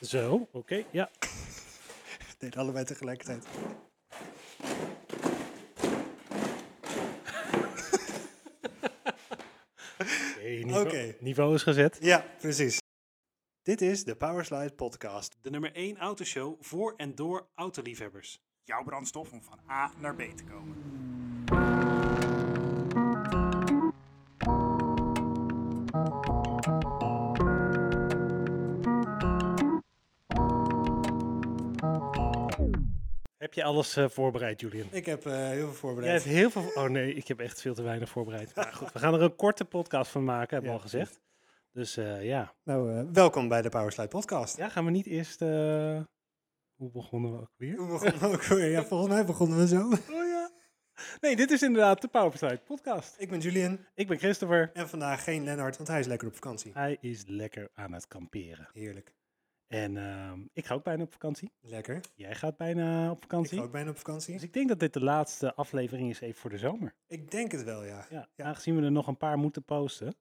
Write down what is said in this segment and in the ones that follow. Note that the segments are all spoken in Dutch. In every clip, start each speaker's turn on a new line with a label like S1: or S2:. S1: Zo, oké, ja.
S2: Deed allebei tegelijkertijd.
S1: Oké, niveau,
S2: Oké.
S1: niveau is gezet.
S2: Ja, precies. Dit is de Powerslide Podcast.
S1: De nummer 1 autoshow voor en door autoliefhebbers.
S3: Jouw brandstof om van A naar B te komen.
S1: Heb je alles eh, voorbereid, Julian?
S2: Ik heb eh, heel veel
S1: Jij
S2: voorbereid.
S1: hebt heel veel... Oh nee, ik heb echt veel te weinig voorbereid. Maar goed, we gaan er een korte podcast van maken, hebben we
S2: Ja,
S1: al gezegd. Dus eh, ja.
S2: Nou, eh, welkom bij de Powerslide Podcast.
S1: ja, gaan we niet eerst... eh, Hoe begonnen we ook weer?
S2: Hoe begonnen we ook weer? Ja, volgens mij begonnen we zo.
S1: Oh ja. Nee, dit is inderdaad de Powerslide podcast.
S2: Ik ben Julian
S1: Ik ben Christopher.
S2: en vandaag geen Lennart, want hij is lekker op vakantie.
S1: Hij is lekker aan het kamperen.
S2: Heerlijk.
S1: En ehm, ik ga ook bijna op vakantie.
S2: Lekker.
S1: Jij gaat bijna op
S2: Ik
S1: vakantie.
S2: ga ook bijna op
S1: Dus
S2: vakantie.
S1: ik denk dat dit de laatste aflevering is even voor de zomer.
S2: Ik denk het wel, ja.
S1: Ja, aangezien we er nog een paar moeten posten.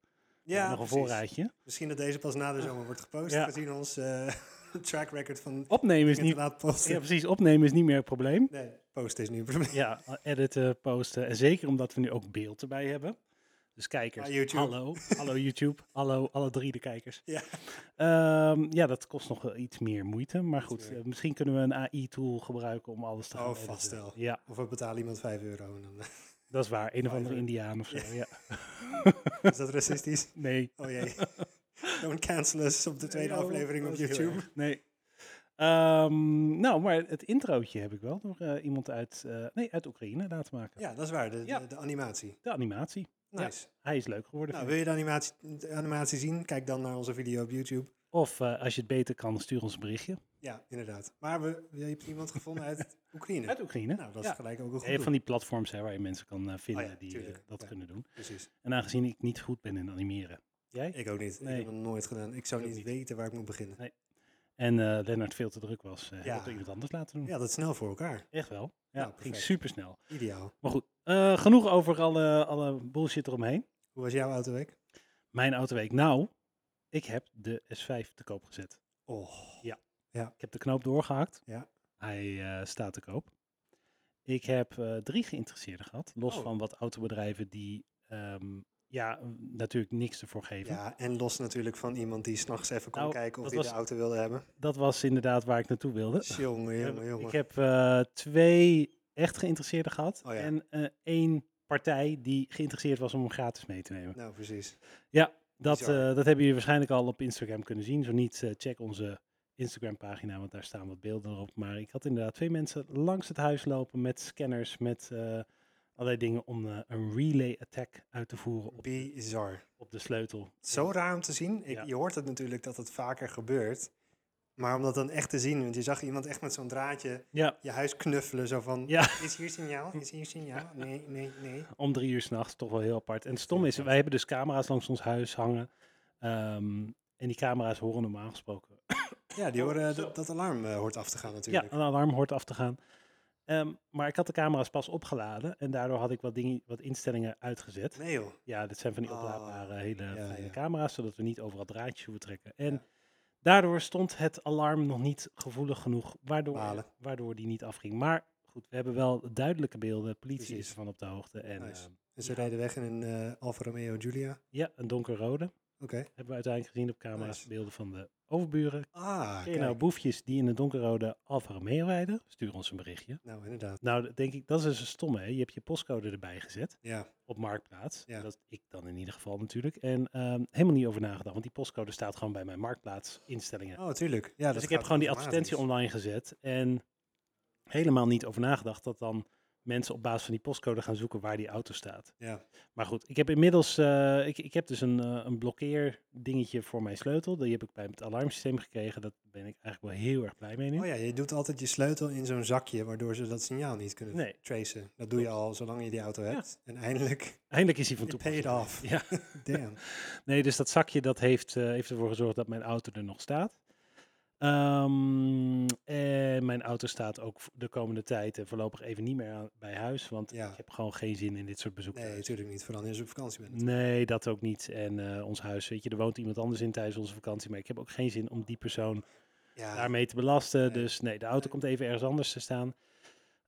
S1: Ja, nog een
S2: precies.
S1: voorraadje.
S2: Misschien dat deze pas na de zomer wordt gepost,
S1: Ja.
S2: gezien ons eh, track record van
S1: Opnemen is
S2: het
S1: niet...
S2: laat posten.
S1: Ja, precies. Opnemen is niet meer het probleem.
S2: Nee, posten is nu een probleem.
S1: Ja, editen, posten. En zeker omdat we nu ook beeld erbij hebben. Dus kijkers,
S2: Ah, YouTube.
S1: hallo. Hallo YouTube. hallo alle drie de kijkers.
S2: Ja.
S1: Ehm, ja, dat kost nog wel iets meer moeite. Maar goed,
S2: meer.
S1: eh, misschien kunnen we een AI-tool gebruiken om alles te
S2: Oh,
S1: gaan
S2: vast
S1: editen.
S2: wel.
S1: Ja,
S2: Of we betalen iemand 5 euro. En dan, eh,
S1: dat is waar. Een of andere
S2: Fiverr.
S1: indiaan of zo. Ja.
S2: is dat racistisch?
S1: Nee.
S2: Oh jee. Don't cancel us op de tweede
S1: Nee, oh,
S2: aflevering op
S1: dat is heel
S2: YouTube.
S1: erg. Nee. Ehm, nou, maar het introotje heb ik wel door eh, iemand uit, eh, nee, uit Oekraïne laten maken.
S2: Ja, dat is waar. De,
S1: Ja.
S2: de, de animatie.
S1: De animatie. Ja.
S2: Nice.
S1: Hij is leuk geworden.
S2: Nou,
S1: vind
S2: wil je de animatie, de animatie zien? Kijk dan naar onze video op YouTube.
S1: ik. Of eh, als je het beter kan, stuur ons een berichtje.
S2: Ja, inderdaad. Maar we, je hebt iemand gevonden uit Oekraïne.
S1: Uit Oekraïne.
S2: Nou, dat is
S1: ja.
S2: gelijk ook een
S1: Je hebt
S2: goed
S1: van
S2: doel.
S1: die platforms hè, waar je mensen kan eh, vinden
S2: ja,
S1: die eh,
S2: tuurlijk.
S1: dat
S2: Ja.
S1: kunnen doen.
S2: Precies.
S1: En aangezien ik niet goed ben in animeren. Jij?
S2: Ik ook niet.
S1: Nee.
S2: Ik heb het nooit gedaan. Ik zou
S1: Ik ook
S2: niet, weten waar ik moet beginnen.
S1: En eh Lennart veel te druk was, eh heb ik
S2: Ja.
S1: het door iemand anders laten doen.
S2: Ja, dat is snel voor elkaar.
S1: Echt wel. Ja,
S2: Nou,
S1: ging
S2: perfect.
S1: super snel.
S2: Ideaal.
S1: Maar goed, eh, genoeg over alle, alle bullshit eromheen.
S2: Hoe was jouw autoweek?
S1: Mijn autoweek. Nou, ik heb de S5 te koop gezet.
S2: Oh.
S1: Ik heb de knoop doorgehakt.
S2: Ja.
S1: Hij eh, staat te koop. Ik heb eh, drie geïnteresseerden gehad. Los
S2: Oh.
S1: van wat autobedrijven die ehm, ja, m, natuurlijk niks ervoor geven.
S2: Ja, en los natuurlijk van iemand die s'nachts even kon
S1: Nou,
S2: kijken of
S1: dat
S2: hij de
S1: was-
S2: auto wilde hebben.
S1: Dat was inderdaad waar ik naartoe wilde.
S2: Jongen, jongen,
S1: Eh,
S2: jongen.
S1: Ik heb eh, twee echt geïnteresseerden gehad.
S2: Oh ja.
S1: En eh, één partij die geïnteresseerd was om hem gratis mee te nemen.
S2: Nou, precies.
S1: Dat,
S2: Bizar.
S1: eh, dat hebben jullie waarschijnlijk al op Instagram kunnen zien. Zo niet, eh, check onze Instagram-pagina, want daar staan wat beelden erop. Maar ik had inderdaad twee mensen langs het huis lopen met scanners, met eh, allerlei dingen om eh, een relay-attack uit te voeren op,
S2: Bizar.
S1: op de sleutel.
S2: Zo raar om te zien. Ik,
S1: Ja.
S2: Je hoort het natuurlijk dat het vaker gebeurt. Maar om dat dan echt te zien, want je zag iemand echt met zo'n draadje
S1: Ja,
S2: je huis knuffelen. Zo van,
S1: Ja.
S2: is hier signaal? Is hier signaal? Nee, nee, nee.
S1: om drie uur s'nachts, toch wel heel apart. En het stom is, wij hebben dus camera's langs ons huis hangen. ehm, en die camera's horen normaal gesproken
S2: Ja, die horen eh,
S1: Oh, zo.
S2: dat, dat alarm eh, hoort af te gaan natuurlijk.
S1: Ja, een alarm hoort af te gaan. Ehm, maar ik had de camera's pas opgeladen en daardoor had ik wat, dingen, wat instellingen uitgezet.
S2: Nee joh.
S1: Ja, dit zijn van die
S2: Ah,
S1: oplaadbare hele
S2: ja,
S1: fijne
S2: ja.
S1: camera's, zodat we niet overal draadjes hoeven trekken. En
S2: Ja.
S1: daardoor stond het alarm nog niet gevoelig genoeg, waardoor,
S2: Balen.
S1: waardoor die niet afging. Maar goed, we hebben wel duidelijke beelden. Politie is
S2: Precies.
S1: ervan op de hoogte. En
S2: Nice.
S1: ehm,
S2: En Dus ze rijden weg in een eh, Alfa Romeo Giulia. Oké.
S1: ja, een donkerrode hebben we uiteindelijk gezien op camera's.
S2: Nice.
S1: Beelden van de overburen.
S2: Ah,
S1: Ken je nou
S2: kijk.
S1: boefjes die in een donkerrode Alfa Romeo rijden? Stuur ons een berichtje.
S2: Nou, inderdaad.
S1: Nou, dat denk ik, dat is dus een stomme. Hè? Je hebt je postcode erbij gezet
S2: Ja,
S1: op Marktplaats.
S2: Ja.
S1: Dat ik dan in ieder geval natuurlijk. En ehm, helemaal niet over nagedacht, want die postcode staat gewoon bij mijn Marktplaats instellingen.
S2: oh tuurlijk. Ja,
S1: dus ik heb gewoon die advertentie online gezet en helemaal niet over nagedacht dat dan mensen op basis van die postcode gaan zoeken waar die auto staat.
S2: Ja.
S1: Maar goed, ik heb inmiddels, eh, ik, ik heb dus een, eh, een blokkeerdingetje voor mijn sleutel. Die heb ik bij het alarmsysteem gekregen. Daar ben ik eigenlijk wel heel erg blij mee nu.
S2: Oh ja, je doet altijd je sleutel in zo'n zakje, waardoor ze dat signaal niet kunnen
S1: Nee.
S2: tracen. Dat doe je al zolang je die auto hebt. En eindelijk,
S1: Eindelijk is hij van
S2: it paid
S1: toepassing.
S2: off.
S1: Ja.
S2: Damn.
S1: Nee, dus dat zakje dat heeft, eh, heeft ervoor gezorgd dat mijn auto er nog staat. Ehm, en mijn auto staat ook v- de komende tijd eh, voorlopig even niet meer aan- bij huis. Want
S2: Ja.
S1: ik heb gewoon geen zin in dit soort bezoeken.
S2: Nee, natuurlijk niet. Vooral als je op vakantie bent.
S1: Nee, dat ook niet. En eh, ons huis, weet je, er woont iemand anders in tijdens onze vakantie. Maar ik heb ook geen zin om die persoon
S2: Ja,
S1: daarmee te belasten.
S2: Nee.
S1: Dus nee, de auto komt even ergens anders te staan.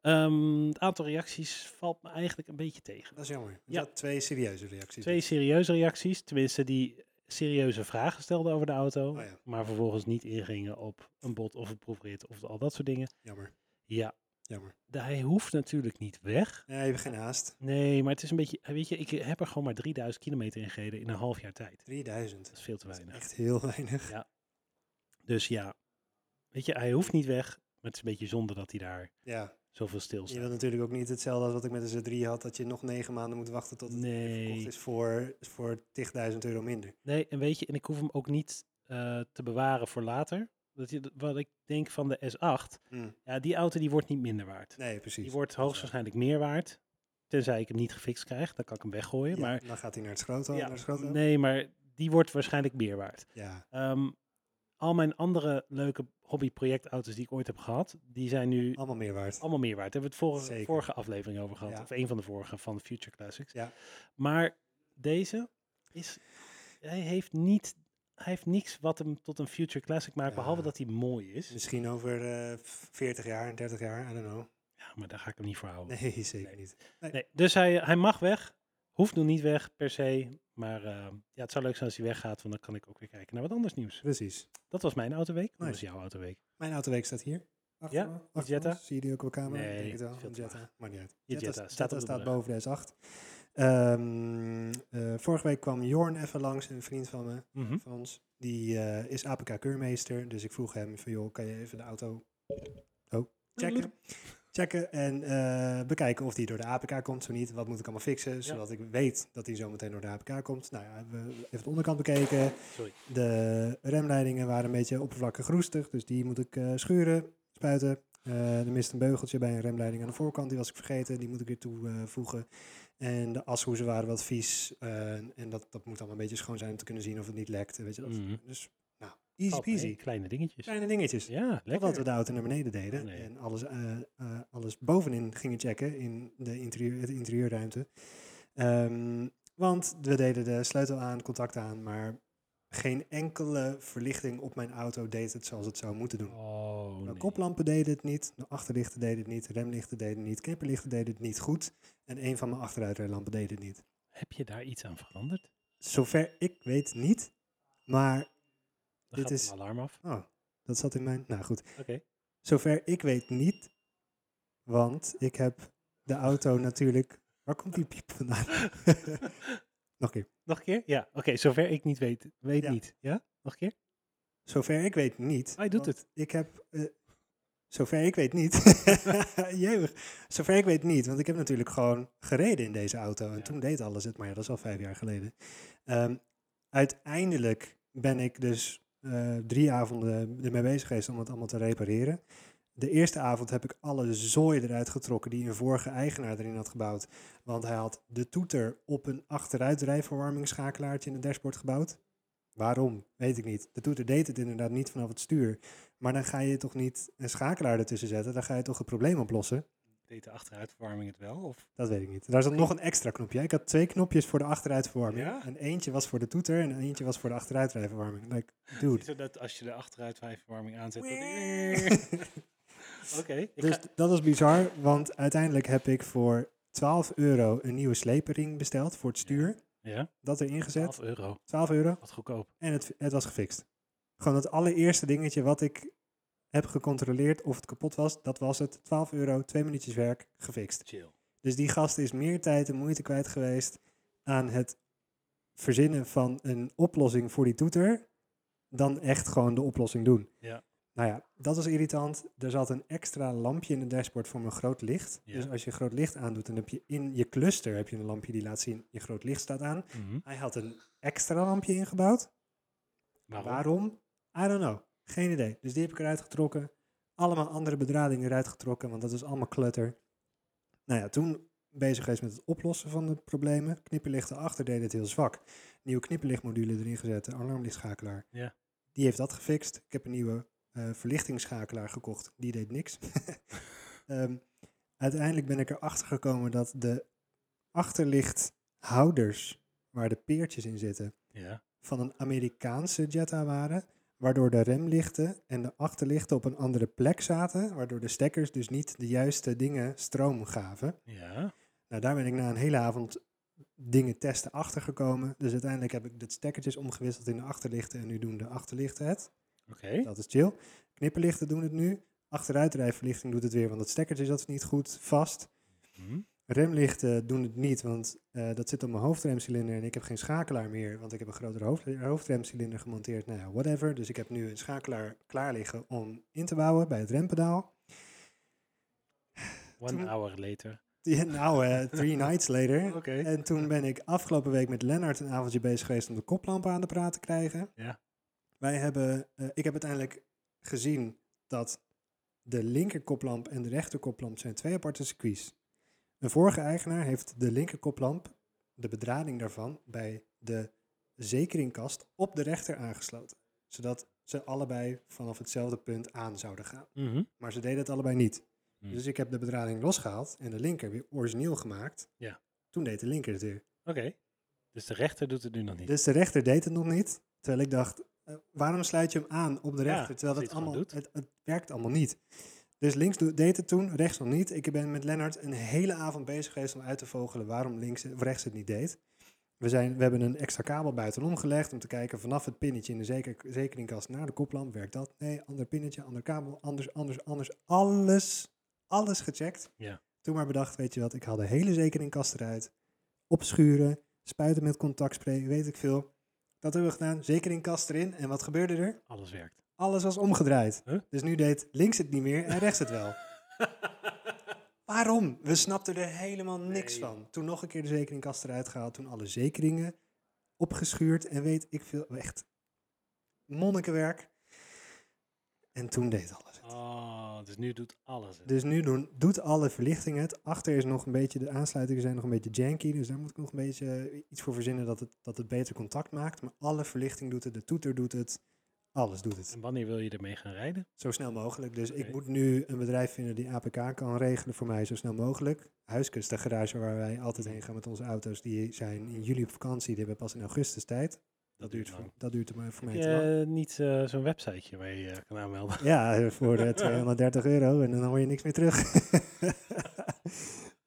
S1: Ehm, het aantal reacties valt me eigenlijk een beetje tegen.
S2: dat is jammer.
S1: Ja.
S2: Ja. twee serieuze reacties.
S1: Twee serieuze reacties, tenminste die serieuze vragen stelden over de auto,
S2: Oh ja.
S1: maar vervolgens niet ingingen op een bot of een proefrit of al dat soort dingen.
S2: Jammer,
S1: Ja,
S2: jammer.
S1: de- hij hoeft natuurlijk niet weg.
S2: Nee, we hebben geen haast.
S1: Nee, maar het is een beetje, eh, weet je, ik heb er gewoon maar 3000 kilometer in gereden in een half jaar tijd.
S2: 3000.
S1: Dat is veel te
S2: Dat is
S1: weinig.
S2: echt heel weinig.
S1: Dus ja, weet je, hij hoeft niet weg, maar het is een beetje zonde dat hij daar
S2: Ja,
S1: zoveel
S2: je
S1: stilstaat.
S2: wil natuurlijk ook niet hetzelfde als wat ik met de Z3 had, dat je nog negen maanden moet wachten tot het verkocht
S1: Nee,
S2: is voor, voor 10.000 euro minder.
S1: Nee, en weet je, en ik hoef hem ook niet eh, te bewaren voor later. Dat je, wat ik denk van de S8,
S2: Hm,
S1: ja, die auto die wordt niet minder waard.
S2: Nee, precies.
S1: Die wordt hoogstwaarschijnlijk meer waard. Tenzij ik hem niet gefixt krijg, dan kan ik hem weggooien.
S2: Ja,
S1: maar
S2: dan gaat hij naar het schroothoofd.
S1: ja,
S2: naar het schroothoofd.
S1: nee, maar die wordt waarschijnlijk meer waard.
S2: Ja,
S1: Ehm, al mijn andere leuke hobbyprojectauto's die ik ooit heb gehad, die zijn nu
S2: allemaal meer waard.
S1: allemaal meer waard. Daar hebben we het vorige,
S2: Zeker.
S1: vorige aflevering over gehad.
S2: Ja.
S1: Of een van de vorige van Future Classics.
S2: Ja.
S1: Maar deze is. Hij heeft niet. Hij heeft niks wat hem tot een Future Classic maakt. Behalve
S2: Ja.
S1: dat hij mooi is.
S2: Misschien over eh, 40 jaar, 30 jaar, I don't know.
S1: Ja, maar daar ga ik hem niet voor houden.
S2: Nee, zeker
S1: Nee.
S2: niet.
S1: Nee. dus hij, hij mag weg. Hoeft nog niet weg per se. Maar eh, ja, het zou leuk zijn als hij weggaat. Want dan kan ik ook weer kijken naar wat anders nieuws.
S2: Precies.
S1: Dat was mijn autoweek. Dat
S2: Nice.
S1: was jouw autoweek.
S2: Mijn autoweek staat hier. Achter
S1: Ja,
S2: me,
S1: die
S2: achter
S1: Jetta.
S2: ons. Zie je die ook op de camera? Ik
S1: Nee,
S2: denk het wel.
S1: veel
S2: Een
S1: te
S2: Jetta.
S1: laag.
S2: Maar niet uit.
S1: Je Jetta staat op de
S2: staat
S1: bedrag.
S2: boven de S8. Ehm, eh, vorige week kwam Jorn even langs, een vriend van me,
S1: Mhm.
S2: van ons. Die eh, is APK-keurmeester. Dus ik vroeg hem van, joh, kan je even de auto oh, checken? Checken en eh, bekijken of die door de APK komt. Zo niet, wat moet ik allemaal fixen? Zodat ik weet dat hij zo meteen door de APK komt. Nou ja, hebben we even de onderkant bekeken.
S1: Sorry.
S2: De remleidingen waren een beetje oppervlakkig roestig, dus die moet ik eh, schuren, spuiten. Eh, er mist een beugeltje bij een remleiding aan de voorkant, die was ik vergeten, die moet ik weer toevoegen. en de ashoezen waren wat vies eh, en dat, dat moet allemaal een beetje schoon zijn om te kunnen zien of het niet lekt. Weet je dat?
S1: Mhm.
S2: Dus nou, easy
S1: Valt mee,
S2: peasy.
S1: Kleine dingetjes.
S2: Kleine dingetjes.
S1: Ja,
S2: Totdat
S1: lekker. Oh,
S2: we de auto naar beneden deden
S1: Nee.
S2: en alles, eh, eh, alles bovenin gingen checken in de interieur, het interieurruimte. Ehm, want we deden de sleutel aan, contact aan, maar geen enkele verlichting op mijn auto deed het zoals het zou moeten doen.
S1: Oh,
S2: de
S1: nee.
S2: Nou, koplampen deden het niet, de achterlichten deden het niet, remlichten deden het niet, knipperlichten deden het niet goed en een van mijn achteruitrijlampen deed het niet.
S1: Heb je daar iets aan veranderd?
S2: Zover ik weet niet, maar
S1: Dan
S2: Dit
S1: gaat
S2: is-
S1: een alarm af.
S2: oh, dat zat in mijn... Nou goed,
S1: Oké.
S2: Zover ik weet niet, want ik heb de auto natuurlijk... Waar komt die piep vandaan? Nog een keer.
S1: Nog een keer? Ja, oké. zover ik niet weet. Weet
S2: Ja.
S1: niet. Ja? Nog een keer?
S2: Zover ik weet niet...
S1: Hij doet
S2: want
S1: het.
S2: Ik heb... eh, zover ik weet niet... Jeugd. Zover ik weet niet, want ik heb natuurlijk gewoon gereden in deze auto. En
S1: Ja.
S2: toen deed alles het, maar ja, dat is al vijf jaar geleden. Ehm, uiteindelijk ben ik dus eh, drie avonden ermee bezig geweest om het allemaal te repareren. De eerste avond heb ik alle zooi eruit getrokken die een vorige eigenaar erin had gebouwd. Want hij had de toeter op een achteruitrijverwarmingsschakelaartje in het dashboard gebouwd. Waarom? Weet ik niet. De toeter deed het inderdaad niet vanaf het stuur. Maar dan ga je toch niet een schakelaar ertussen zetten. Dan ga je toch het probleem oplossen.
S1: Deed de achteruitverwarming het wel? Of?
S2: Dat weet ik niet. Daar zat nog een extra knopje. Ik had twee knopjes voor de achteruitverwarming.
S1: Ja?
S2: En eentje was voor de toeter en eentje was voor de achteruitrijverwarming. Like, dude.
S1: dat als je de achteruitverwarming aanzet... Oké.
S2: Dus dat is bizar, want uiteindelijk heb ik voor 12 euro een nieuwe sleepering besteld voor het stuur.
S1: Ja?
S2: Dat erin gezet,
S1: 12 euro.
S2: 12 euro,
S1: Wat goedkoop.
S2: en het, het was gefixt. Gewoon het allereerste dingetje wat ik heb gecontroleerd of het kapot was, dat was het. 12 euro, twee minuutjes werk, gefixt.
S1: Chill.
S2: Dus die gast is meer tijd en moeite kwijt geweest aan het verzinnen van een oplossing voor die toeter, dan echt gewoon de oplossing doen.
S1: Ja.
S2: Nou ja, dat was irritant. Er zat een extra lampje in het dashboard voor mijn groot licht.
S1: Ja.
S2: Dus als je groot licht aandoet, dan heb je in je cluster heb je een lampje die laat zien je groot licht staat aan.
S1: Mhm.
S2: Hij had een extra lampje ingebouwd.
S1: Waarom?
S2: Waarom? I don't know. Geen idee. Dus die heb ik eruit getrokken. Allemaal andere bedradingen eruit getrokken, want dat is allemaal clutter. Nou ja, toen bezig geweest met het oplossen van de problemen. Knipperlichten achter deden het heel zwak. Nieuwe knipperlichtmodule erin gezet, een alarmlichtschakelaar.
S1: Ja.
S2: Die heeft dat gefixt. Ik heb een nieuwe eh, verlichtingsschakelaar gekocht. Die deed niks. Ehm, uiteindelijk ben ik erachter gekomen dat de achterlichthouders, waar de peertjes in zitten,
S1: Ja.
S2: van een Amerikaanse Jetta waren. waardoor de remlichten en de achterlichten op een andere plek zaten, waardoor de stekkers dus niet de juiste dingen stroom gaven.
S1: Ja.
S2: Nou, daar ben ik na een hele avond dingen testen achtergekomen. Dus uiteindelijk heb ik de stekkertjes omgewisseld in de achterlichten en nu doen de achterlichten het.
S1: Oké.
S2: Dat is chill. Knipperlichten doen het nu. Achteruitrijverlichting doet het weer, want het stekkertje zat niet goed vast.
S1: Hm.
S2: Remlichten doen het niet, want eh, dat zit op mijn hoofdremcilinder en ik heb geen schakelaar meer, want ik heb een grotere hoofd, hoofdremcilinder gemonteerd. Nou ja, whatever. Dus ik heb nu een schakelaar klaar liggen om in te bouwen bij het rempedaal.
S1: One
S2: Toen-
S1: hour later.
S2: Ja, nou, eh, three nights later.
S1: Oké.
S2: En toen ben ik afgelopen week met Lennart een avondje bezig geweest om de koplampen aan de praat te krijgen.
S1: Ja.
S2: Wij hebben, eh, ik heb uiteindelijk gezien dat de linker koplamp en de rechter koplamp zijn twee aparte circuits. Een vorige eigenaar heeft de linker koplamp, de bedrading daarvan, bij de zekeringkast op de rechter aangesloten. Zodat ze allebei vanaf hetzelfde punt aan zouden gaan.
S1: Mhm.
S2: Maar ze deden het allebei niet.
S1: Hmm.
S2: Dus ik heb de bedrading losgehaald en de linker weer origineel gemaakt.
S1: Ja.
S2: Toen deed de linker het weer.
S1: Oké. Dus de rechter doet het nu nog niet.
S2: Dus de rechter deed het nog niet. Terwijl ik dacht, eh, waarom sluit je hem aan op de
S1: Ja,
S2: rechter? terwijl
S1: als
S2: het,
S1: hij het
S2: allemaal,
S1: gewoon
S2: het, het werkt allemaal niet. Dus links doe- deed het toen, rechts nog niet. Ik ben met Lennart een hele avond bezig geweest om uit te vogelen waarom links, of rechts het niet deed. We, zijn, we hebben een extra kabel buitenom gelegd om te kijken vanaf het pinnetje in de zeker, zekeringkast naar de koplamp. Werkt dat? Nee, ander pinnetje, ander kabel, anders, anders, anders. Alles, alles gecheckt.
S1: Ja.
S2: Toen maar bedacht, weet je wat, ik haal de hele zekeringkast eruit. Opschuren, spuiten met contactspray, weet ik veel. Dat hebben we gedaan, zekeringkast erin. En wat gebeurde er?
S1: Alles werkt.
S2: Alles was omgedraaid.
S1: Huh?
S2: Dus nu deed links het niet meer en rechts het wel. Waarom? We snapten er helemaal niks
S1: Nee.
S2: van. Toen nog een keer de zekeringkast eruit gehaald. Toen alle zekeringen opgeschuurd. En weet ik veel. Echt monnikenwerk. En toen deed alles het.
S1: Oh, dus nu doet alles het.
S2: Dus nu doen, doet alle verlichting het. Achter is nog een beetje, de aansluitingen zijn nog een beetje janky. Dus daar moet ik nog een beetje eh, iets voor verzinnen dat het, dat het beter contact maakt. Maar alle verlichting doet het. De toeter doet het. Alles doet het.
S1: En wanneer wil je ermee gaan rijden?
S2: Zo snel mogelijk. Dus ik
S1: Oké.
S2: moet nu een bedrijf vinden die APK kan regelen voor mij zo snel mogelijk. Huiskust, de garage waar wij altijd heen gaan met onze auto's, die zijn in juli op vakantie. Die hebben pas in augustus tijd. Dat duurt, voor, dat duurt maar voor mij te lang.
S1: Je, niet eh, zo'n websiteje waar je eh, kan aanmelden.
S2: Ja, eh, voor eh, 230 euro en dan hoor je niks meer terug.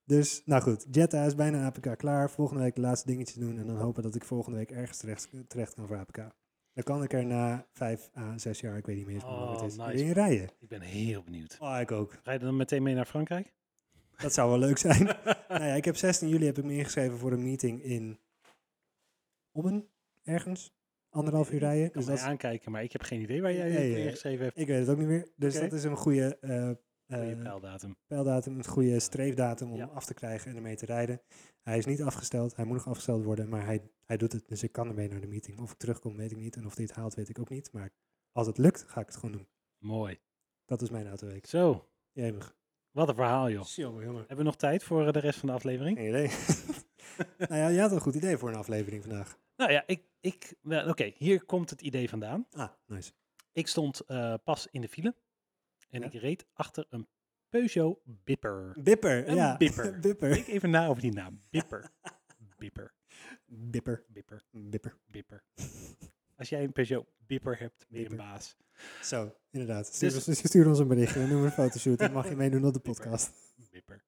S2: dus, nou goed, Jetta is bijna APK klaar. Volgende week de laatste dingetjes doen en dan hopen dat ik volgende week ergens terecht, terecht kan voor APK. Dan kan ik er na vijf à zes jaar, ik weet niet meer eens meer hoe lang
S1: Oh,
S2: het is,
S1: nice,
S2: weer in
S1: man.
S2: rijden.
S1: Ik ben heel benieuwd.
S2: Oh, ik ook.
S1: Ga je dan meteen mee naar Frankrijk?
S2: Dat zou wel leuk zijn. nou ja, ik heb 16 juli heb ik me ingeschreven voor een meeting in Ommen, ergens. Anderhalf uur rijden.
S1: Ik Eh, kan
S2: Dus
S1: mij
S2: dat is-
S1: aankijn, maar ik heb geen idee waar jij
S2: Nee,
S1: je voor
S2: eh,
S1: ingeschreven hebt.
S2: ik weet het ook niet meer. Dus
S1: Oké.
S2: dat is een goede eh,
S1: Goeie
S2: eh,
S1: pijldatum.
S2: pijldatum, een goede streefdatum om
S1: Ja.
S2: af te krijgen en ermee te rijden. Hij is niet afgesteld, hij moet nog afgesteld worden, maar hij, hij doet het. Dus ik kan ermee naar de meeting. Of ik terugkom, weet ik niet. En of dit haalt, weet ik ook niet. Maar als het lukt, ga ik het gewoon doen.
S1: Mooi.
S2: Dat is mijn autoweek.
S1: Zo,
S2: Jemig.
S1: wat een verhaal joh.
S2: Jongen, jongen.
S1: Hebben we nog tijd voor eh, de rest van de aflevering?
S2: Geen idee. nou ja, je had een goed idee voor een aflevering vandaag.
S1: Nou ja, ik, ik, wel, oké, hier komt het idee vandaan.
S2: Ah, nice.
S1: Ik stond eh, pas in de file en
S2: Ja.
S1: ik reed achter een Peugeot Bipper.
S2: Bipper,
S1: Een
S2: ja.
S1: bipper.
S2: bipper.
S1: Denk even na over die naam. Bipper. Bipper.
S2: Bipper.
S1: Bipper.
S2: Bipper.
S1: Bipper. Als jij een Peugeot Bipper hebt, ben je een
S2: Bipper.
S1: baas.
S2: Zo, inderdaad. Stuur,
S1: Dus-
S2: ons, stuur ons een berichtje, dan doen we een fotoshoot en mag je meedoen op de
S1: Bipper.
S2: podcast.
S1: Bipper.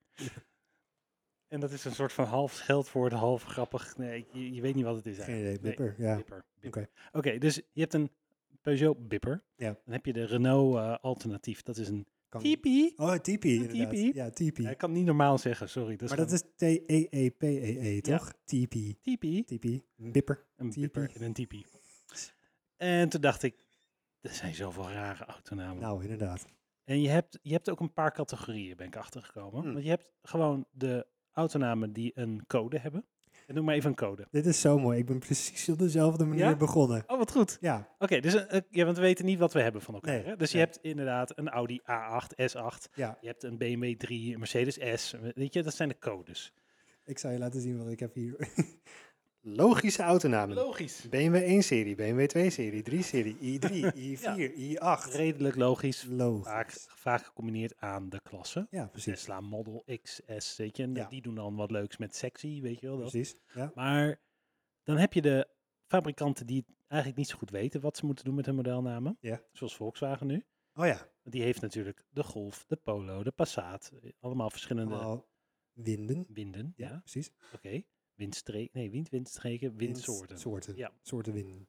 S1: En dat is een soort van half scheldwoord, half grappig. Nee, ik- je, je weet niet wat het is eigenlijk.
S2: Geen idee,
S1: Nee,
S2: Bipper, ja.
S1: Bipper. Bipper. Oké, dus je hebt een Peugeot Bipper.
S2: Ja.
S1: Dan heb je de Renault eh, alternatief. Dat is een
S2: Kan-
S1: Tipi.
S2: Oh, Tipi,
S1: Een
S2: inderdaad.
S1: tipi.
S2: Ja, Tipi.
S1: Ja, ik kan het niet normaal zeggen, sorry. Dat is
S2: maar dat
S1: gewoon
S2: is E T-E-E-P-E-E,
S1: Ja. Hm.
S2: toch? Tipi.
S1: Tipi.
S2: Tipi. Bipper.
S1: Een
S2: Tipi.
S1: bipper en een tipi. En toen dacht ik, er zijn zoveel rare autonamen.
S2: Nou, inderdaad.
S1: En je hebt, je hebt ook een paar categorieën, ben ik achtergekomen.
S2: Hmm.
S1: Want je hebt gewoon de autonamen die een code hebben. En noem maar even een code.
S2: Dit is zo mooi. Ik ben precies op dezelfde manier
S1: Ja?
S2: begonnen.
S1: Oh, wat goed.
S2: Ja,
S1: Oké, dus een- een- ja, want we weten niet wat we hebben van elkaar.
S2: Nee,
S1: hè? Dus je
S2: nee.
S1: hebt inderdaad een Audi A8, S8.
S2: ja.
S1: Je hebt een BMW 3, een Mercedes S. Weet je, dat zijn de codes.
S2: Ik zal je laten zien wat ik heb hier. Logische autonamen.
S1: Logisch.
S2: BMW 1-serie, BMW 2-serie, 3-serie, i3, i4, i8.
S1: Redelijk logisch. Vaak,
S2: Logisch.
S1: vaak gecombineerd aan de klasse.
S2: Ja, precies.
S1: Tesla Model X, S, weet je. En
S2: Ja.
S1: die doen dan wat leuks met sexy, weet je wel. Dat.
S2: Precies. Ja.
S1: Maar dan heb je de fabrikanten die het eigenlijk niet zo goed weten wat ze moeten doen met hun modelnamen.
S2: Ja.
S1: Zoals Volkswagen nu.
S2: Oh ja,
S1: Want die heeft natuurlijk de Golf, de Polo, de Passat. eh, Allemaal verschillende
S2: allemaal winden.
S1: winden. eh, Ja,
S2: Ja, precies.
S1: oké. Windstreek, nee, wind, windstreken, windsoorten.
S2: Soorten.
S1: Ja.
S2: Soorten winden.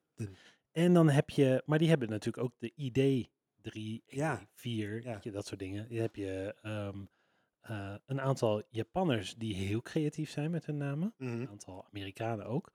S1: En dan heb je, maar die hebben natuurlijk ook de ID 3,
S2: Ja,
S1: 4,
S2: ja.
S1: E weet je, dat soort dingen. Dan heb je ehm, eh, een aantal Japanners die heel creatief zijn met hun namen.
S2: Mhm.
S1: Een aantal Amerikanen ook.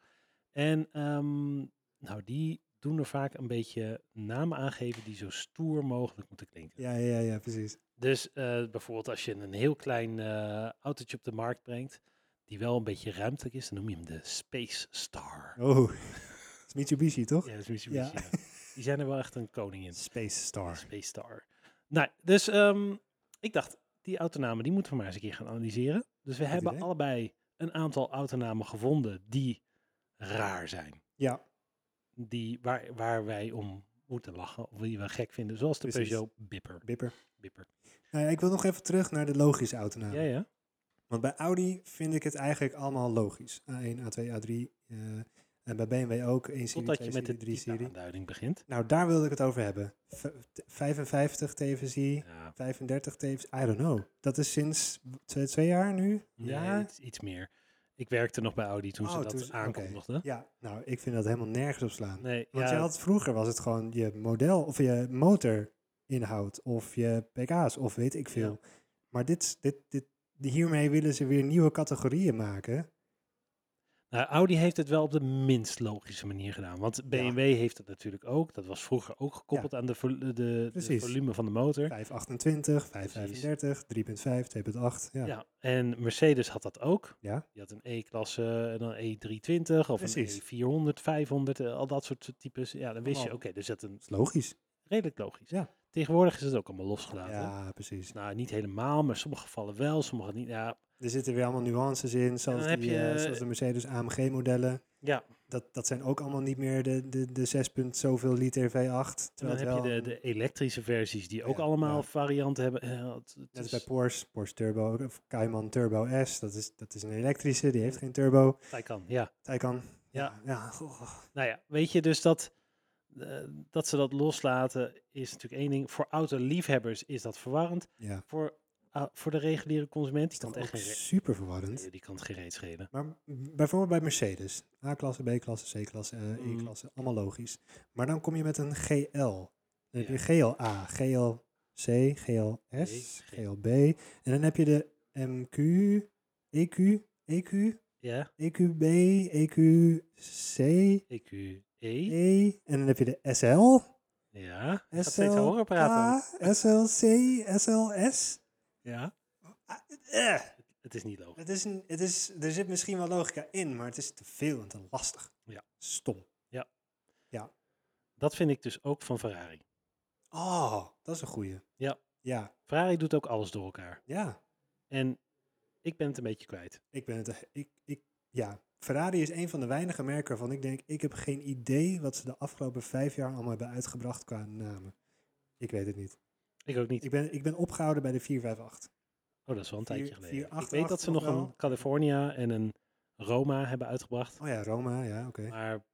S1: En ehm, nou, die doen er vaak een beetje namen aangeven die zo stoer mogelijk moeten klinken.
S2: Ja, ja, ja, precies.
S1: Dus eh, bijvoorbeeld als je een heel klein eh, autootje op de markt brengt, die wel een beetje ruimtelijk is, dan noem je hem de Space Star.
S2: Oh, het is Mitsubishi, toch?
S1: Ja, dat is Mitsubishi,
S2: Ja.
S1: ja. Die zijn er wel echt een koning in.
S2: Space Star.
S1: Space Star. Nou, dus ehm, ik dacht, die autonamen die moeten we maar eens een keer gaan analyseren. Dus we
S2: Goed
S1: hebben
S2: idee.
S1: allebei een aantal autonamen gevonden die raar zijn.
S2: Ja,
S1: Die, waar, waar wij om moeten lachen, of die we gek vinden. Zoals de
S2: Precies.
S1: Peugeot Bipper.
S2: bipper.
S1: Bipper.
S2: Nou ja, ik wil nog even terug naar de logische
S1: Ja,
S2: autonaam.
S1: ja.
S2: Want bij Audi vind ik het eigenlijk allemaal logisch. A1, A2, A3. eh, en bij BMW ook 1 serie,
S1: Totdat
S2: 2
S1: je met de
S2: serie, 3
S1: type
S2: serie.
S1: aanduiding begint.
S2: Nou, daar wilde ik het over hebben. V- t- 55 TVC,
S1: Ja,
S2: 35 TVC, I don't know. Dat is sinds w- twee, twee jaar nu?
S1: ja. iets, iets meer. Ik werkte nog bij Audi toen ze
S2: Oh,
S1: dat
S2: toen ze- oké.
S1: aankondigden.
S2: Ja, nou, ik vind dat helemaal nergens op slaan.
S1: Nee,
S2: Want
S1: ja,
S2: je had, vroeger was het gewoon je model of je motorinhoud of je pk's of weet ik veel. Maar dit, dit, dit, hiermee willen ze weer nieuwe categorieën maken.
S1: Nou, Audi heeft het wel op de minst logische manier gedaan. Want BMW heeft het natuurlijk ook. Dat was vroeger ook gekoppeld aan de, vol- de, de
S2: Precies.
S1: volume van de motor.
S2: 528, 535, 3.5, 2.8. Ja.
S1: Ja. En Mercedes had dat ook.
S2: Ja.
S1: Die had een E-klasse en dan E320 of
S2: Precies.
S1: een E400, 500, eh, al dat soort types. Ja, dan wist je, oké,
S2: Allemaal.
S1: dus dat een
S2: is logisch.
S1: redelijk logisch.
S2: Ja.
S1: Tegenwoordig is het ook allemaal losgelaten.
S2: Ja, precies.
S1: Nou, niet helemaal, maar sommige gevallen wel, sommige niet. Ja,
S2: Er zitten weer allemaal nuances in, zoals,
S1: dan heb
S2: die, eh,
S1: je-
S2: zoals de Mercedes AMG modellen.
S1: ja.
S2: Dat, dat zijn ook allemaal niet meer de, de, de 6. punt zoveel liter V8.
S1: En
S2: Terwijl
S1: dan heb
S2: het
S1: je
S2: wel
S1: de,
S2: een-
S1: de elektrische versies die ook
S2: Ja,
S1: allemaal
S2: ja.
S1: varianten hebben. Ja, het- het
S2: Net als
S1: is-
S2: bij Porsche, Porsche Turbo, of Cayman Turbo S. Dat is, dat is een elektrische, die heeft geen turbo.
S1: Taycan, ja.
S2: Taycan.
S1: Ja.
S2: ja. goh.
S1: Nou ja, weet je, dus dat, eh, dat ze dat loslaten is natuurlijk één ding. Voor autoliefhebbers is dat verwarrend.
S2: ja.
S1: Voor, ah, voor de reguliere consument, die
S2: Dat
S1: kan
S2: is
S1: het echt
S2: echt
S1: geen reet-
S2: super verwarrend.
S1: nee, die kan het geen reet schelen.
S2: Maar m- bijvoorbeeld bij Mercedes. A-klasse, B-klasse, C-klasse, eh,
S1: Mm.
S2: E-klasse. Allemaal logisch. Maar dan kom je met een GL. Dan heb je
S1: Ja.
S2: GLA, GLC, GLS, GLB. En dan heb je de E MQ, EQ, EQ,
S1: Ja,
S2: EQB, E EQC,
S1: EQE.
S2: E. En dan heb je de SL.
S1: Ja, ik ga steeds horen
S2: SLK,
S1: praten.
S2: SLC, SLS.
S1: Ja.
S2: Eh,
S1: Het is niet logisch.
S2: het is een, het is, er zit misschien wel logica in, maar het is te veel en te lastig.
S1: Ja.
S2: Stom.
S1: Dat vind ik dus ook van Ferrari.
S2: Oh, dat is een goeie.
S1: Ja.
S2: Ja,
S1: Ferrari doet ook alles door elkaar.
S2: ja.
S1: En ik ben het een beetje kwijt.
S2: Ik ben het... Ik, ik, ja. Ferrari is een van de weinige merken waarvan ik denk, ik heb geen idee wat ze de afgelopen vijf jaar allemaal hebben uitgebracht qua namen. Ik weet het niet.
S1: Ik ook niet.
S2: Ik ben, ik ben opgehouden bij de 458.
S1: Oh, dat is wel een
S2: Vier-
S1: tijdje geleden.
S2: vier,
S1: ik
S2: acht,
S1: weet
S2: acht
S1: dat ze
S2: nog
S1: nog een
S2: wel.
S1: California en een Roma hebben uitgebracht.
S2: Oh ja, Roma, ja, oké.
S1: Maar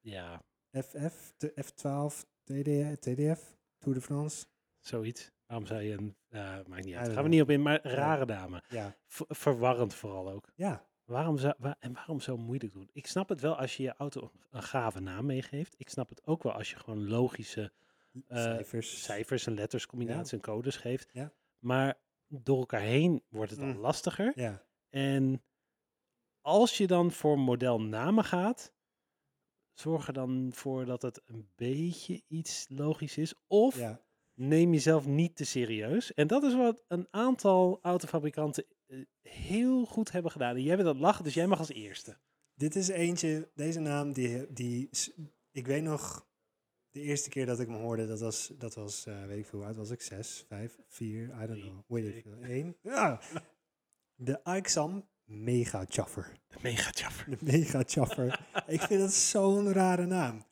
S1: ja,
S2: FF, de F12, TDF, TDF, Tour de France.
S1: Zoiets. Waarom zei je een... eh, maakt niet uit.
S2: don't
S1: Gaan we
S2: know.
S1: niet op in, maar rare dame.
S2: Ja,
S1: V- verwarrend vooral ook.
S2: ja,
S1: Waarom zou, wa- en waarom zo moeilijk doen? Ik snap het wel als je je auto een- een gave naam meegeeft. Ik snap het ook wel als je gewoon logische eh,
S2: cijfers.
S1: cijfers en letters, combinaties en codes geeft.
S2: Ja.
S1: Maar door elkaar heen wordt het al
S2: Mm.
S1: lastiger.
S2: Ja,
S1: En als je dan voor modelnamen gaat, zorg er dan voor dat het een beetje iets logisch is. Of
S2: ja,
S1: neem jezelf niet te serieus. En dat is wat een aantal autofabrikanten eh, heel goed hebben gedaan. En jij bent aan het lachen, dus jij mag als eerste.
S2: dit is eentje, deze naam, die, die, s- ik weet nog, de eerste keer dat ik hem hoorde, dat was, dat was eh, weet ik veel, hoe oud was ik? Zes, vijf, vier, I don't
S1: Drie,
S2: know, weet
S1: twee.
S2: ik veel, één. Ja. De Aixam Mega Chaffer.
S1: De mega chaffer.
S2: De Mega Chaffer. ik vind dat zo'n rare naam.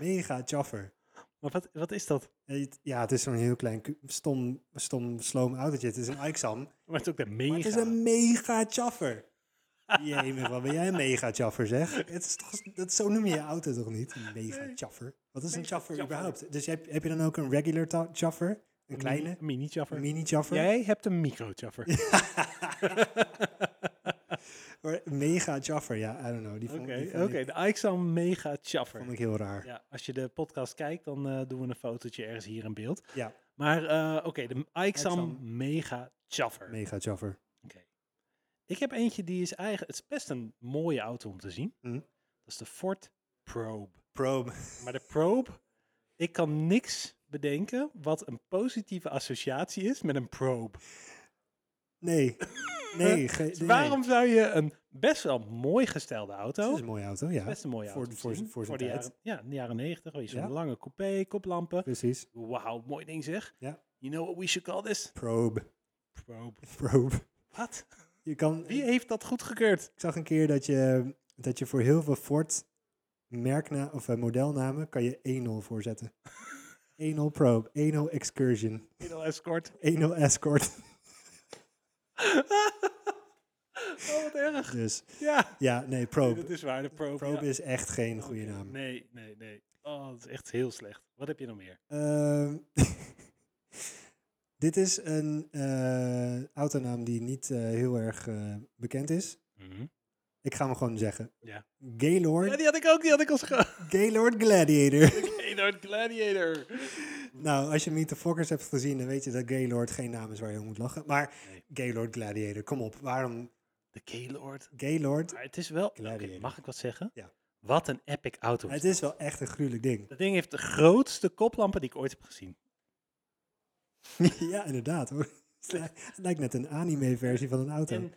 S2: Mega Chaffer.
S1: Maar wat, wat is dat?
S2: Het- Ja, het is zo'n heel klein, ku- stom, stom, sloom autootje. Het is een Aixam.
S1: Maar het is ook de
S2: Maar
S1: mega.
S2: het is een mega chaffer. Jemig, wat ben jij een mega chaffer zeg. Het is toch, dat, zo noem je je auto toch niet? Een mega chaffer. Wat is een
S1: Mega
S2: chaffer
S1: chaffer.
S2: überhaupt? Dus heb, heb je dan ook een regular ta- chaffer? Een kleine?
S1: Mini- Mini-chaffer.
S2: Een mini chaffer?
S1: Jij hebt een micro-chaffer.
S2: Maar Mega chaffer, ja, I don't know. Die vond, die
S1: Oké,
S2: vond
S1: oké,
S2: ik,
S1: de Aixam
S2: vond
S1: mega-chaffer.
S2: ik heel raar.
S1: Ja, als je de podcast kijkt, dan eh, doen we een fotootje ergens hier in beeld.
S2: Ja.
S1: Maar eh, oké, de Aixam
S2: Aixam.
S1: mega-chaffer.
S2: Mega chaffer.
S1: Oké. Ik heb eentje die is eigen. Het is best een mooie auto om te zien.
S2: Mhm.
S1: Dat is de Ford Probe.
S2: Probe.
S1: Maar de Probe, ik kan niks bedenken wat een positieve associatie is met een Probe.
S2: Nee. Nee. ge-
S1: Dus
S2: nee.
S1: waarom zou je een best wel mooi gestelde auto,
S2: Het is een mooie auto, ja.
S1: best een mooie
S2: Voor-
S1: auto, om te
S2: voor-
S1: zien.
S2: voor zijn
S1: de
S2: tijd.
S1: jaren, ja, in de jaren negentig, weet je, zo'n
S2: Ja.
S1: lange coupé, koplampen,
S2: Precies.
S1: wauw, mooi ding zeg.
S2: Ja.
S1: You know what we should call this?
S2: Probe.
S1: Probe.
S2: Probe.
S1: Wat?
S2: Je kan,
S1: Wie heeft dat goedgekeurd?
S2: Ik zag een keer dat je, dat je voor heel veel Ford merkna of eh, modelnamen kan je 1-0 voorzetten. 1-0 Probe, 1-0 Excursion,
S1: Middel Escort.
S2: 1-0 Escort.
S1: Oh, wat erg.
S2: Dus
S1: Ja,
S2: ja, nee,
S1: nee,
S2: Probe.
S1: dat is waar, de Probe. ja. Oh,
S2: Probe is echt geen goede naam.
S1: Nee, nee, nee. Oh, dat is echt heel slecht. Wat heb je nog meer?
S2: Ehm, dit is een eh, autonaam die niet eh, heel erg eh, bekend is. Ik ga hem gewoon zeggen.
S1: Ja. Ja,
S2: Gaylord,
S1: die had ik ook, die had ik als ge-
S2: Gaylord Gladiator.
S1: Gaylord Gladiator.
S2: Nou, als je Meet the Fockers hebt gezien, dan weet je dat Gaylord geen naam is waar je om moet lachen. Maar
S1: Nee.
S2: Gaylord Gladiator, kom op. Waarom
S1: De Gaylord.
S2: Gaylord?
S1: Maar het is wel... Oké,
S2: Gladiator.
S1: mag ik wat zeggen?
S2: Ja.
S1: Wat een epic auto.
S2: Het is wel echt een gruwelijk ding.
S1: Dat ding heeft de grootste koplampen die ik ooit heb gezien.
S2: ja, inderdaad hoor. Het lijkt- het lijkt net een anime-versie van een auto.
S1: En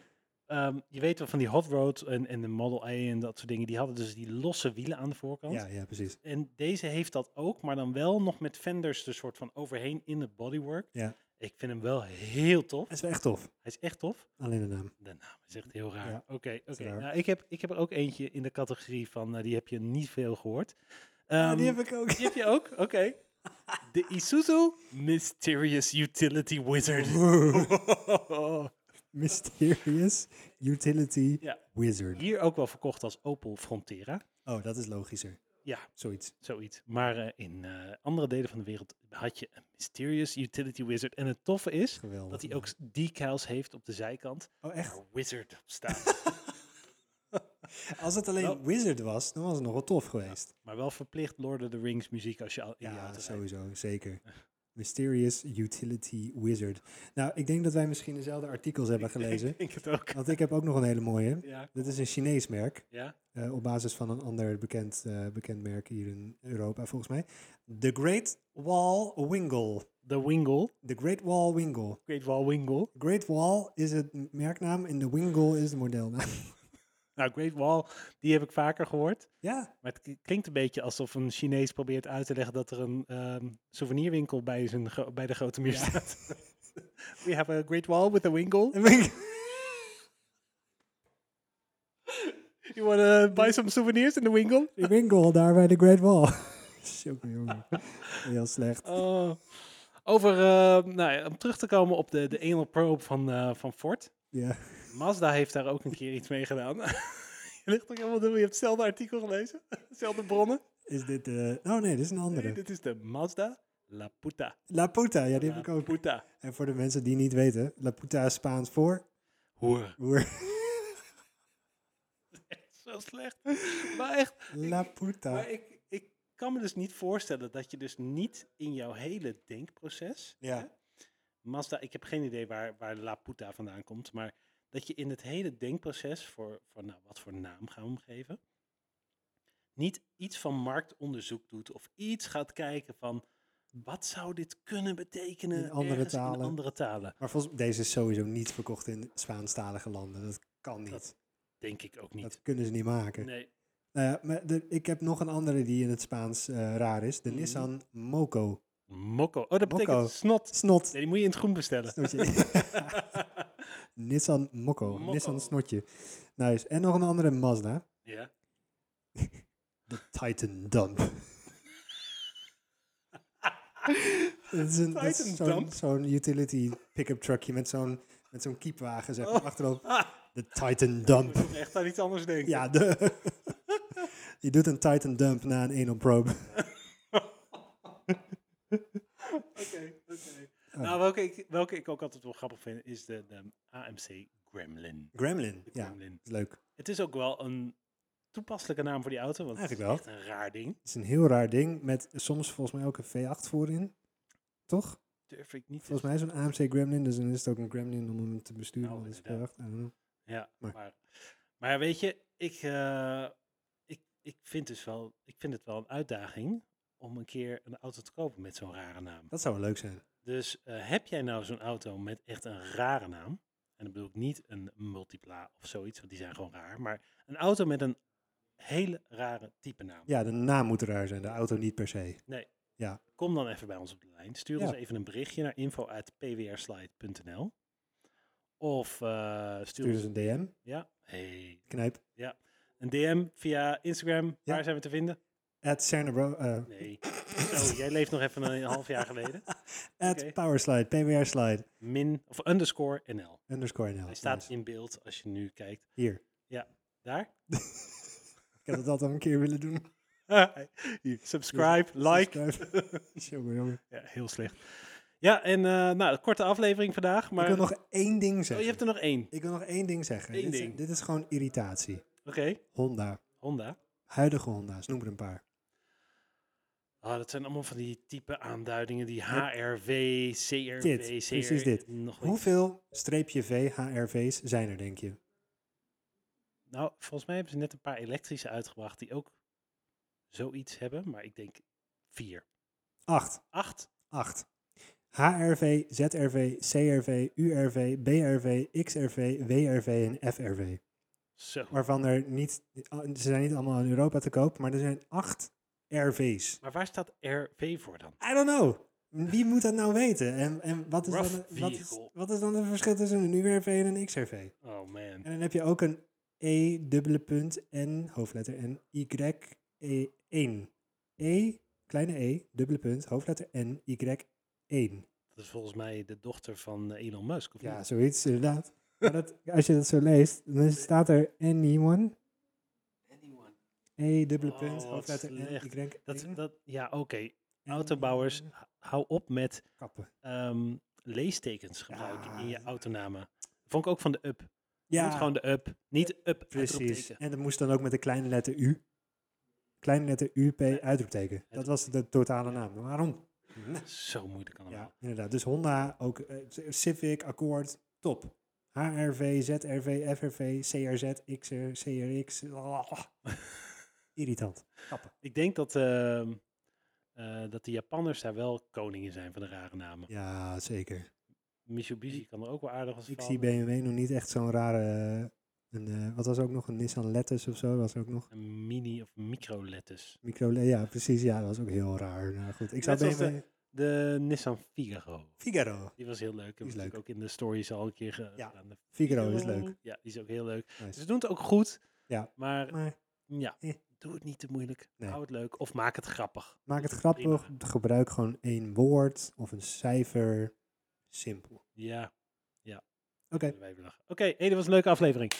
S1: ehm, je weet wel van die Hot Rod en, en de Model A en dat soort dingen. Die hadden dus die losse wielen aan de voorkant.
S2: ja, ja, precies.
S1: En deze heeft dat ook, maar dan wel nog met fenders er soort van overheen in het bodywork.
S2: Ja.
S1: Ik vind hem wel heel tof.
S2: Het is wel echt tof.
S1: Hij is echt tof.
S2: Alleen de naam.
S1: De naam is echt heel raar.
S2: Ja,
S1: Oké, oké.
S2: raar.
S1: Nou, ik, heb, ik heb er ook eentje in de categorie van, eh, die heb je niet veel gehoord.
S2: Ah, die
S1: Ehm,
S2: heb ik ook.
S1: die heb je ook? Oké. De Isuzu Mysterious Utility Wizard.
S2: Mysterious Utility
S1: Ja.
S2: Wizard.
S1: Hier ook wel verkocht als Opel Frontera.
S2: Oh, dat is logischer.
S1: Ja.
S2: Zoiets.
S1: Zoiets. Maar eh, in eh, andere delen van de wereld had je een Mysterious Utility Wizard. En het toffe is
S2: Geweldig.
S1: dat hij ook decals heeft op de zijkant.
S2: Oh, echt?
S1: Waar Wizard op staat.
S2: Als het alleen
S1: Nou.
S2: Wizard was, dan was het nog wel tof geweest.
S1: maar wel verplicht Lord of the Rings muziek als je al in
S2: Ja,
S1: die auto rijdt.
S2: sowieso. Zeker. Mysterious Utility Wizard. Nou, ik denk dat wij misschien dezelfde artikels hebben gelezen.
S1: Ik denk het ook.
S2: Want ik heb ook nog een hele mooie.
S1: Ja.
S2: Dit is een Chinees merk.
S1: Ja.
S2: eh, op basis van een ander bekend, eh, bekend merk hier in Europa, volgens mij. The Great Wall Wingle.
S1: De Wingle.
S2: The Great Wall Wingle.
S1: Great Wall Wingle.
S2: Great Wall is het m- merknaam en de Wingle is de modelnaam.
S1: Nou, Great Wall, die heb ik vaker gehoord.
S2: ja,
S1: Maar het k- klinkt een beetje alsof een Chinees probeert uit te leggen dat er een ehm, souvenirwinkel bij, zijn gro- bij de grote muur staat. We have a Great Wall with a Wingle.
S2: een winkel.
S1: You want to buy some souvenirs in the Wingle?
S2: De Wingle daar bij de Great Wall. Sjokke jongen. Heel slecht.
S1: Oh. Over, eh, nou ja, om terug te komen op de, de anal probe van, eh, van Ford.
S2: Ja.
S1: Mazda heeft daar ook een keer iets mee gedaan. je ligt toch helemaal door, je hebt hetzelfde artikel gelezen. Hetzelfde bronnen.
S2: Is dit de... Oh nee, dit is een
S1: Nee,
S2: andere.
S1: dit is de Mazda La Puta.
S2: La Puta, ja die
S1: La
S2: heb ik ook.
S1: Puta.
S2: En voor de mensen die niet weten, La Puta is Spaans voor...
S1: Hoer.
S2: Hoer.
S1: Zo slecht. Maar echt,
S2: La Puta.
S1: maar ik, ik kan me dus niet voorstellen dat je dus niet in jouw hele denkproces...
S2: Ja.
S1: Mazda, ik heb geen idee waar, waar La Puta vandaan komt, maar dat je in het hele denkproces voor, voor nou, wat voor naam gaan we hem geven, niet iets van marktonderzoek doet of iets gaat kijken van wat zou dit kunnen betekenen
S2: In andere
S1: ergens In
S2: talen.
S1: andere talen,
S2: Maar volgens deze is sowieso niet verkocht in Spaanstalige landen. Dat kan niet.
S1: Dat
S2: Dat,
S1: denk ik ook niet.
S2: kunnen ze niet maken.
S1: Nee,
S2: Nou ja, maar de- ik heb nog een andere die in het Spaans eh, raar is. De
S1: Mhm.
S2: Nissan Moco.
S1: mokko. Oh, dat betekent
S2: Mokko.
S1: snot.
S2: Snot.
S1: Nee, die moet je in het groen bestellen.
S2: Snotje. Nissan Moco.
S1: Moco.
S2: Nissan Snotje. Nice. En nog een andere Mazda.
S1: ja.
S2: De Titan Dump. Dat is een- dat is
S1: Titan
S2: zo'n
S1: Dump? Oh. Ah.
S2: zo'n utility pick-up truckje met zo'n met zo'n kiepwagen zeg maar, achterop. De Titan Dump.
S1: Ik moet echt aan iets anders denken.
S2: Ja, de die doet een Titan Dump na een anal probe.
S1: Oké, oké. Nou, welke ik, welke ik ook altijd wel grappig vind, is de, de AMC Gremlin.
S2: Gremlin.
S1: De
S2: Ja,
S1: Gremlin.
S2: is leuk.
S1: Het is ook wel een toepasselijke naam voor die auto, want
S2: Eigenlijk
S1: het is echt een raar ding.
S2: Het is een heel raar ding met soms volgens mij ook een V8 voorin. Toch?
S1: Durf ik niet. te
S2: Volgens mij is een AMC Gremlin, dus dan is het ook een Gremlin om hem te besturen.
S1: Nou,
S2: want het is
S1: inderdaad.
S2: V8, I don't know.
S1: Ja,
S2: Maar-
S1: maar. maar, weet je, ik, eh, ik, ik, vind dus wel, ik vind het wel een uitdaging om een keer een auto te kopen met zo'n rare naam.
S2: Dat zou wel leuk zijn.
S1: Dus eh, heb jij nou zo'n auto met echt een rare naam? En dan bedoel ik niet een multipla of zoiets, want die zijn gewoon raar. Maar een auto met een hele rare type naam.
S2: Ja, de naam moet raar zijn, de auto niet per se.
S1: Kom dan even bij ons op de lijn. Stuur
S2: Ja.
S1: ons even een berichtje naar info.pwrslide.nl Of eh, stuur
S2: Stuur
S1: ons
S2: dus een DM,
S1: ja, hey,
S2: knijp.
S1: een DM via Instagram.
S2: Ja.
S1: Waar zijn we te vinden?
S2: At Cernabro, eh,
S1: Nee. Zo, jij leeft nog even een half jaar geleden.
S2: at
S1: Oké.
S2: powerslide, pwr slide,
S1: Min of underscore NL.
S2: underscore NL.
S1: Hij staat
S2: Nice.
S1: in beeld als je nu kijkt.
S2: Hier,
S1: Daar.
S2: ik had het altijd een keer willen doen.
S1: Hier, subscribe, like.
S2: Subscribe. jongen, jongen.
S1: Ja, heel slecht. Ja, en eh, nou, een korte aflevering vandaag.
S2: Ik
S1: Maar
S2: wil nog één ding
S1: oh, je
S2: zeggen.
S1: hebt er nog één.
S2: Ik wil nog één ding zeggen.
S1: Eén
S2: dit, Is,
S1: ding.
S2: dit is gewoon irritatie.
S1: Oké,
S2: Honda,
S1: Honda.
S2: huidige Honda's, noem er een paar.
S1: Ah, dat zijn allemaal van die type aanduidingen. Die HRW, CRW,
S2: Dit,
S1: CR.
S2: precies dit.
S1: Nog niet.
S2: Hoeveel streepje V HRV's zijn er, denk je?
S1: Nou, volgens mij hebben ze net een paar elektrische uitgebracht die ook zoiets hebben. Maar ik denk vier.
S2: Acht.
S1: Acht?
S2: 8. HRV, ZRV, CRV, URV, BRV, XRV, WRV en FRV.
S1: Zo.
S2: Waarvan er niet, ze zijn niet allemaal in Europa te koop, maar er zijn 8 RV's.
S1: Maar waar staat RV voor dan?
S2: I don't know. Wie moet dat nou weten? En, en wat, is dan,
S1: Rough
S2: wat, is,
S1: vehicle.
S2: wat is dan het verschil tussen een URV en een XRV?
S1: Oh man.
S2: En dan heb je ook een E, dubbele punt, N, hoofdletter N, Y, E, 1. E, kleine E, dubbele punt, hoofdletter N, Y, 1.
S1: Dat is volgens mij de dochter van eh, Elon Musk. Of
S2: Ja,
S1: niet?
S2: zoiets, inderdaad. Maar dat, als je dat zo leest, dan is- staat er anyone, E, dubbele
S1: Oh,
S2: punt,
S1: wat
S2: hoofdletter N,
S1: slecht.
S2: Y,
S1: Dat,
S2: één.
S1: dat, ja, oké.
S2: En-
S1: Autobouwers, h- hou op met
S2: Kappen.
S1: ehm, leestekens gebruiken in je
S2: Ja.
S1: autonamen. Vond ik ook van de up. Je moet
S2: Ja,
S1: gewoon de up, niet up.
S2: precies.
S1: uitroepteken.
S2: En dat moest dan ook met de kleine letter U. Kleine letter U, P, uitroepteken. Dat was de totale naam. Maar Waarom?
S1: Zo moeilijk allemaal.
S2: Ja, inderdaad. Dus Honda, ook eh, Civic, Accord, top. HRV, ZRV, FRV, CRZ, XR, CRX. ah. Irritant. Kappen.
S1: Ik denk dat, ehm, eh, dat de Japanners daar wel koningen zijn van de rare namen.
S2: Ja, zeker.
S1: Mitsubishi kan er ook wel aardig als
S2: Ik zie BMW nog niet echt zo'n rare. eh, een, eh, wat was er ook nog? Een Nissan Lettus of zo? Was er ook nog.
S1: Een mini of micro letters.
S2: Micro. Ja, precies. Ja, dat was ook heel raar. Nou goed, ik zou
S1: Net zoals
S2: BMW.
S1: de- De Nissan Figaro.
S2: Figaro.
S1: Die was heel leuk. Die
S2: is
S1: is leuk.
S2: leuk.
S1: ook in de stories al een keer ge-
S2: Ja.
S1: gedaan. De-
S2: Figaro is leuk.
S1: Ja, die is ook heel leuk.
S2: Nice.
S1: Ze doen het ook goed.
S2: Ja.
S1: Maar
S2: Maar
S1: ja,
S2: eh.
S1: doe het niet te moeilijk.
S2: Nee.
S1: Hou het leuk. Of maak het grappig.
S2: maak het
S1: Dat is
S2: grappig.
S1: prima.
S2: Gebruik gewoon één woord of een cijfer. Simpel. Oké.
S1: Ja, kunnen wij belachen. Oké, hey, dit was een leuke aflevering.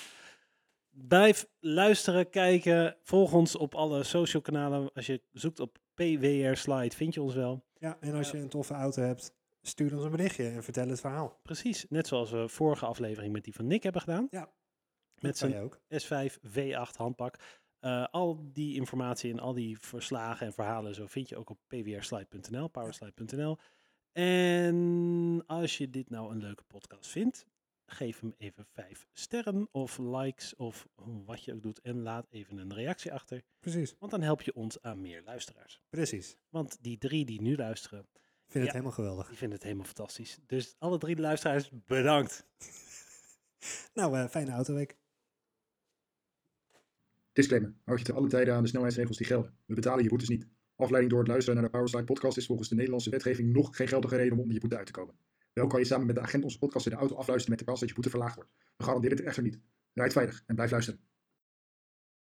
S1: Blijf luisteren, kijken. Volg ons op alle social kanalen. Als je zoekt op PWR Slide, vind je ons wel.
S2: Ja, en als je een toffe auto hebt, stuur ons een berichtje en vertel het verhaal.
S1: Precies, net zoals we vorige aflevering met die van Nick hebben gedaan.
S2: Ja.
S1: Met
S2: Dat kan
S1: zijn
S2: je ook.
S1: S5 V8 handpak. Eh, al die informatie en al die verslagen en verhalen en zo vind je ook op pwrslide.nl, powerslide.nl. En als je dit nou een leuke podcast vindt, geef hem even vijf sterren of likes of wat je ook doet. En laat even een reactie achter,
S2: Precies.
S1: want dan help je ons aan meer luisteraars.
S2: Precies. Ik
S1: Want die drie die nu luisteren,
S2: vind het
S1: Ja.
S2: helemaal geweldig.
S1: die vinden het helemaal fantastisch. Dus alle drie de luisteraars, bedankt.
S2: Nou, eh, fijne autoweek.
S4: Disclaimer. Houd je te alle tijden aan de snelheidsregels die gelden. We betalen je boetes niet. Afleiding door het luisteren naar de Powerslide podcast is volgens de Nederlandse wetgeving nog geen geldige reden om onder je boete uit te komen. Wel kan je samen met de agent onze podcast in de auto afluisteren met de kans dat je boete verlaagd wordt. We garanderen dit echter niet. Rijd veilig en blijf luisteren.